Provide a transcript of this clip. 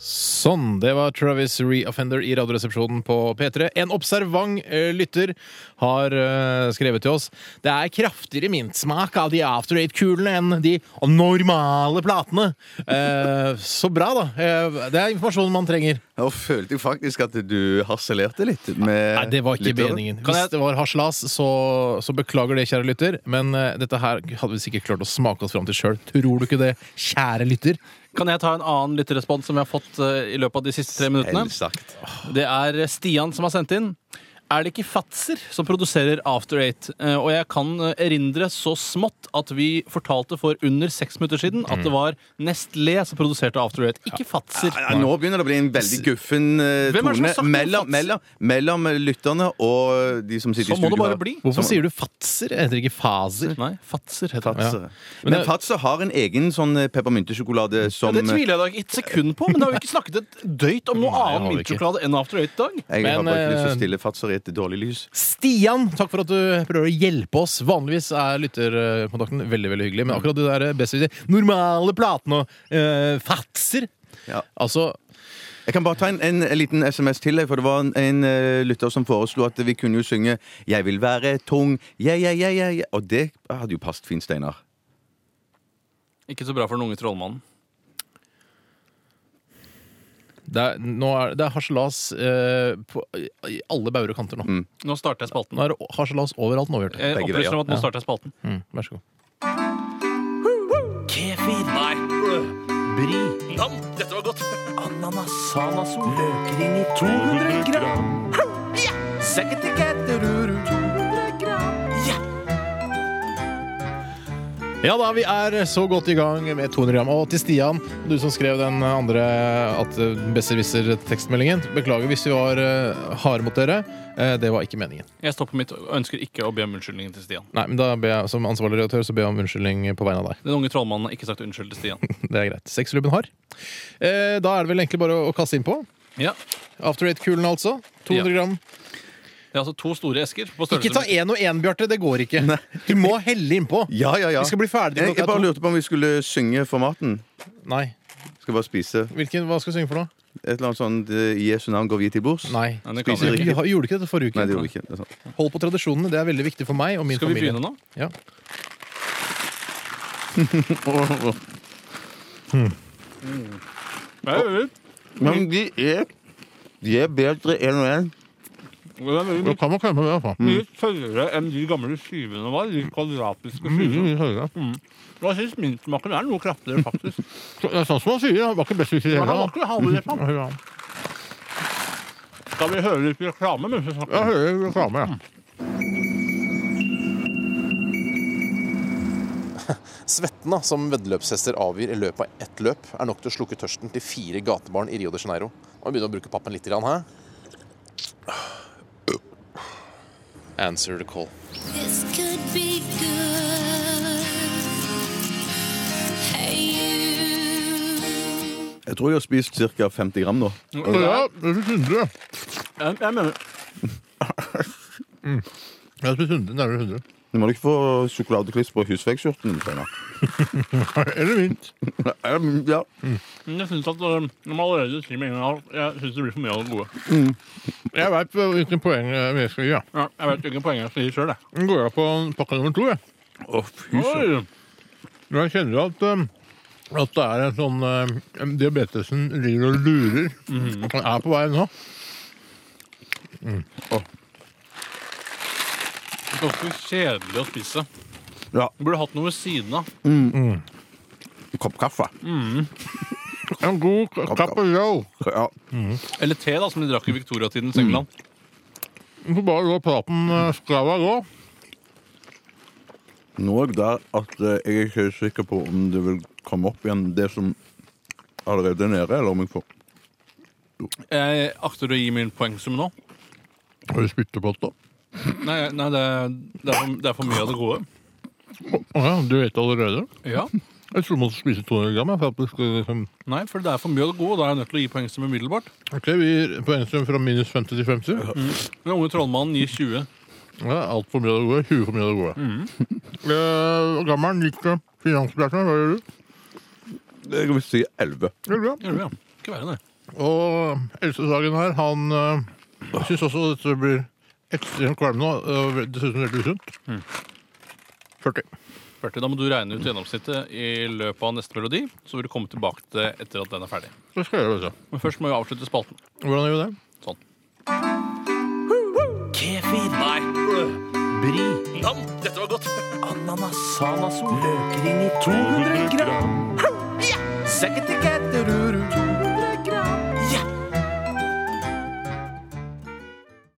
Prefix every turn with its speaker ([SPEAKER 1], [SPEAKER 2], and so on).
[SPEAKER 1] Sånn, det var Travis Reoffender i Radioresepsjonen på P3. En observant eh, lytter har eh, skrevet til oss Det er kraftigere min smak av de After Eight-kulene enn de normale platene. Eh, så bra, da. Eh, det er informasjonen man trenger.
[SPEAKER 2] Og følte jeg faktisk at du harselerte litt med
[SPEAKER 1] Nei, det var ikke
[SPEAKER 2] lyttere.
[SPEAKER 1] meningen.
[SPEAKER 3] Kan jeg-
[SPEAKER 1] Hvis det var haslas, så, så beklager det, kjære lytter. Men eh, dette her hadde vi sikkert klart å smake oss fram til sjøl. Tror du ikke det, kjære lytter?
[SPEAKER 3] Kan jeg ta en annen lytterrespons som jeg har fått eh, i løpet av de siste tre minuttene?
[SPEAKER 2] Selvsagt.
[SPEAKER 3] Det er eh, Stian som har sendt inn. Er det ikke Fatser som produserer After Eight? Eh, Og jeg kan eh, erindre så smått at vi fortalte for under seks minutter siden at det var Nestlé som produserte After Eight, ikke Fatser.
[SPEAKER 2] Mm. Ja, nå begynner det å bli en veldig guffen eh,
[SPEAKER 3] Hvem er det
[SPEAKER 2] tone
[SPEAKER 3] som har sagt noe
[SPEAKER 2] mellom,
[SPEAKER 3] fats?
[SPEAKER 2] mellom, mellom eh, lytterne og de som sitter i
[SPEAKER 3] Så må
[SPEAKER 2] studio.
[SPEAKER 3] det bare
[SPEAKER 2] her.
[SPEAKER 3] bli.
[SPEAKER 1] Hvorfor
[SPEAKER 2] Som-
[SPEAKER 1] sier du fatser? Heter det ikke faser?
[SPEAKER 3] Nei, Fatser heter det.
[SPEAKER 2] Fatser.
[SPEAKER 1] Ja. Men
[SPEAKER 2] Men
[SPEAKER 1] det-
[SPEAKER 2] Fatser har en egen sånn eh, peppermyntesjokolade
[SPEAKER 3] Ja,
[SPEAKER 2] som
[SPEAKER 3] det tviler jeg da ikke et sekund på, men det har jo ikke snakket et døyt om noe
[SPEAKER 1] Nei, det har vi
[SPEAKER 3] annen
[SPEAKER 1] ikke.
[SPEAKER 3] mintsjokolade enn After Eight i dag.
[SPEAKER 2] Jeg har
[SPEAKER 1] Men,
[SPEAKER 2] bare ikke lyst til
[SPEAKER 1] eh,
[SPEAKER 2] å stille Fatser i et dårlig lys.
[SPEAKER 1] Stian, takk for at du prøver å hjelpe oss. Vanligvis er lytterkontakten veldig veldig hyggelig, men akkurat det der eh, best normale platene og eh, fatser
[SPEAKER 2] Ja.
[SPEAKER 1] Altså,
[SPEAKER 2] Jeg kan bare ta en, en, liten SMS til, jeg, for det var en, en eh, lytter som foreslo at vi kunne jo synge 'Jeg vil være tung', ja, ja, ja, ja, ja. Og det hadde jo passet fint, Steinar.
[SPEAKER 3] Ikke så bra for den unge trollmannen.
[SPEAKER 1] det er, nå er det er harselas eh, på- i alle bauger og kanter nå.
[SPEAKER 3] Nå starter jeg spalten.
[SPEAKER 1] Nå er det harselas overalt nå, Bjarte.
[SPEAKER 3] Jeg
[SPEAKER 2] Begge
[SPEAKER 3] opplyser om
[SPEAKER 2] veier.
[SPEAKER 3] at nå starter jeg spalten.
[SPEAKER 1] Mm, vær så god.
[SPEAKER 3] Kefir. Nei. Bri. Dam. Dette var godt. Ananas. Sanasol. Løkring i 200 gram.
[SPEAKER 1] Ja da, vi er så godt i gang med 200 gram. Og til Stian, du som skrev den andre at eh, besserwisser-tekstmeldingen. Beklager hvis vi var eh, harde mot dere. Eh, Det var ikke meningen.
[SPEAKER 3] Jeg står på mitt og ønsker ikke å be om unnskyldningen til Stian.
[SPEAKER 1] Nei, men da ber jeg, Som ansvarlig redaktør så ber jeg om unnskyldning på vegne av deg.
[SPEAKER 3] Den unge trollmannen har ikke sagt unnskyld til Stian.
[SPEAKER 1] Det er greit. Sexklubben har. Eh, Da er det vel egentlig bare å- å kaste innpå.
[SPEAKER 3] Ja.
[SPEAKER 1] After eight-kulen, altså. 200 gram.
[SPEAKER 3] Det er altså to store esker på
[SPEAKER 1] Ikke ta
[SPEAKER 3] størrelse med
[SPEAKER 1] én og én, Bjarte. Det går ikke. Du må helle innpå.
[SPEAKER 2] Ja, ja, ja.
[SPEAKER 1] Vi skal bli ferdig
[SPEAKER 2] jeg, jeg
[SPEAKER 1] klokka
[SPEAKER 2] bare
[SPEAKER 1] to.
[SPEAKER 2] lurte på om vi skulle synge for maten.
[SPEAKER 1] Nei.
[SPEAKER 2] Skal bare spise
[SPEAKER 1] Hvilken, hva skal vi synge for noe?
[SPEAKER 2] et eller annet sånt eh, I Jesu navn går vi til bords.
[SPEAKER 1] Nei.
[SPEAKER 3] Nei, det kan
[SPEAKER 1] Spiser
[SPEAKER 2] vi ikke.
[SPEAKER 1] ikke. Gjorde du ikke dette forrige uke?
[SPEAKER 2] Nei, det gjorde vi ikke. Det er sant.
[SPEAKER 1] Hold på tradisjonene. Det er veldig viktig for meg og min
[SPEAKER 3] Skal vi
[SPEAKER 1] familie.
[SPEAKER 3] begynne nå?
[SPEAKER 1] Ja.
[SPEAKER 3] Ja, ja, ja.
[SPEAKER 2] Men de er, de er bedre enn og enn.
[SPEAKER 3] Det er veldig
[SPEAKER 1] Det kan man klemme det, altså.
[SPEAKER 3] mye tørrere enn de gamle skivene var. De kvadratiske skivene.
[SPEAKER 1] Mhm.
[SPEAKER 2] Mm.
[SPEAKER 1] Det
[SPEAKER 3] Jeg syns mintsmaken er noe kraftigere, faktisk.
[SPEAKER 1] er sånn som man sier. Det var ikke best hvis vi
[SPEAKER 3] Men han var ikke halvrefant. Skal vi høre litt reklame mens vi snakker?
[SPEAKER 1] hører reklame, ja. Svetten da, som veddeløpshester avgir i løpet av ett løp, er nok til å slukke tørsten til fire gatebarn i Rio de Janeiro. Må vi begynne å bruke pappen litt grann her. Answer the call.
[SPEAKER 4] This could be good. Hey, you.
[SPEAKER 2] Jeg tror jeg har spist ca. 50 gram nå.
[SPEAKER 3] Ja,
[SPEAKER 1] det er 100.
[SPEAKER 3] Jeg, jeg mener
[SPEAKER 1] Jeg har spist 100, nærmere 100.
[SPEAKER 2] Nå må du ikke få sjokoladekliss på husveggskjorten. Steinar.
[SPEAKER 1] Eller minst.
[SPEAKER 2] Em, Um, Ja.
[SPEAKER 3] Jeg syns at øh, når man allerede sier med en gang at Jeg synes det blir for mye av det gode.
[SPEAKER 1] Jeg veit hvilken poeng vi skal gi.
[SPEAKER 3] Ja, jeg vet ikke poenget jeg skal gi sjøl, jeg.
[SPEAKER 1] Den går av på pakke nummer to. Jeg,
[SPEAKER 2] Å, fy søren.
[SPEAKER 3] Oi.
[SPEAKER 1] jeg kjenner at, um, at det er en sånn um, Diabetesen ligger og lurer. Han er på vei nå.
[SPEAKER 3] Ganske kjedelig å spise.
[SPEAKER 2] Ja.
[SPEAKER 3] Du burde hatt noe ved siden av.
[SPEAKER 2] En kopp kaffe.
[SPEAKER 1] En god k- cup of joe.
[SPEAKER 2] Ja.
[SPEAKER 3] Eller te, da, som de drakk i viktoriatidens England.
[SPEAKER 1] Du får bare la praten uh, skrava gå.
[SPEAKER 2] Nå er det der at eh, jeg er ikke sikker på om det vil komme opp igjen, det som allerede er nede, eller om jeg får
[SPEAKER 3] Jeg akter å gi min poengsum nå.
[SPEAKER 1] Har du spyttepott, da?
[SPEAKER 3] Nei, nei det, er- det, er for, det er for mye av det gode.
[SPEAKER 1] Å ja, du vet allerede?
[SPEAKER 3] Ja.
[SPEAKER 1] Jeg trodde man måtte spise 200 gram. jeg, for at det skulle liksom...
[SPEAKER 3] Nei, for det er for mye av det gode, og da er jeg nødt til å gi poengsum umiddelbart.
[SPEAKER 1] Ok, vi gir poengsum fra minus 50 til 50.
[SPEAKER 3] Den unge trollmannen gir 20.
[SPEAKER 1] Ja, Altfor mye av det gode. 20 for mye av det gode. Eh, Gammelen gikk eh, finansbransjen. Hva gjør du?
[SPEAKER 2] Jeg vil si 11.
[SPEAKER 1] Gjør du bra?
[SPEAKER 3] Gjør det, ja. Ikke verre enn det.
[SPEAKER 1] Og Else Sagen her, han øh, syns også dette blir ekstremt kvalmende og øh, dessuten veldig usunt. 40.
[SPEAKER 3] 40, da må du regne ut gjennomsnittet i løpet av neste melodi. Så vil du komme tilbake til det etter at den er ferdig.
[SPEAKER 1] Det skal jeg gjøre, vet du.
[SPEAKER 3] Men først må vi avslutte spalten.
[SPEAKER 1] Hvordan gjør vi det?
[SPEAKER 3] Sånn. Kefir. Nei. Bri. Dam. Dette var godt. Ananas. Sanasol. Løkring i 200 gram. Sekketikett.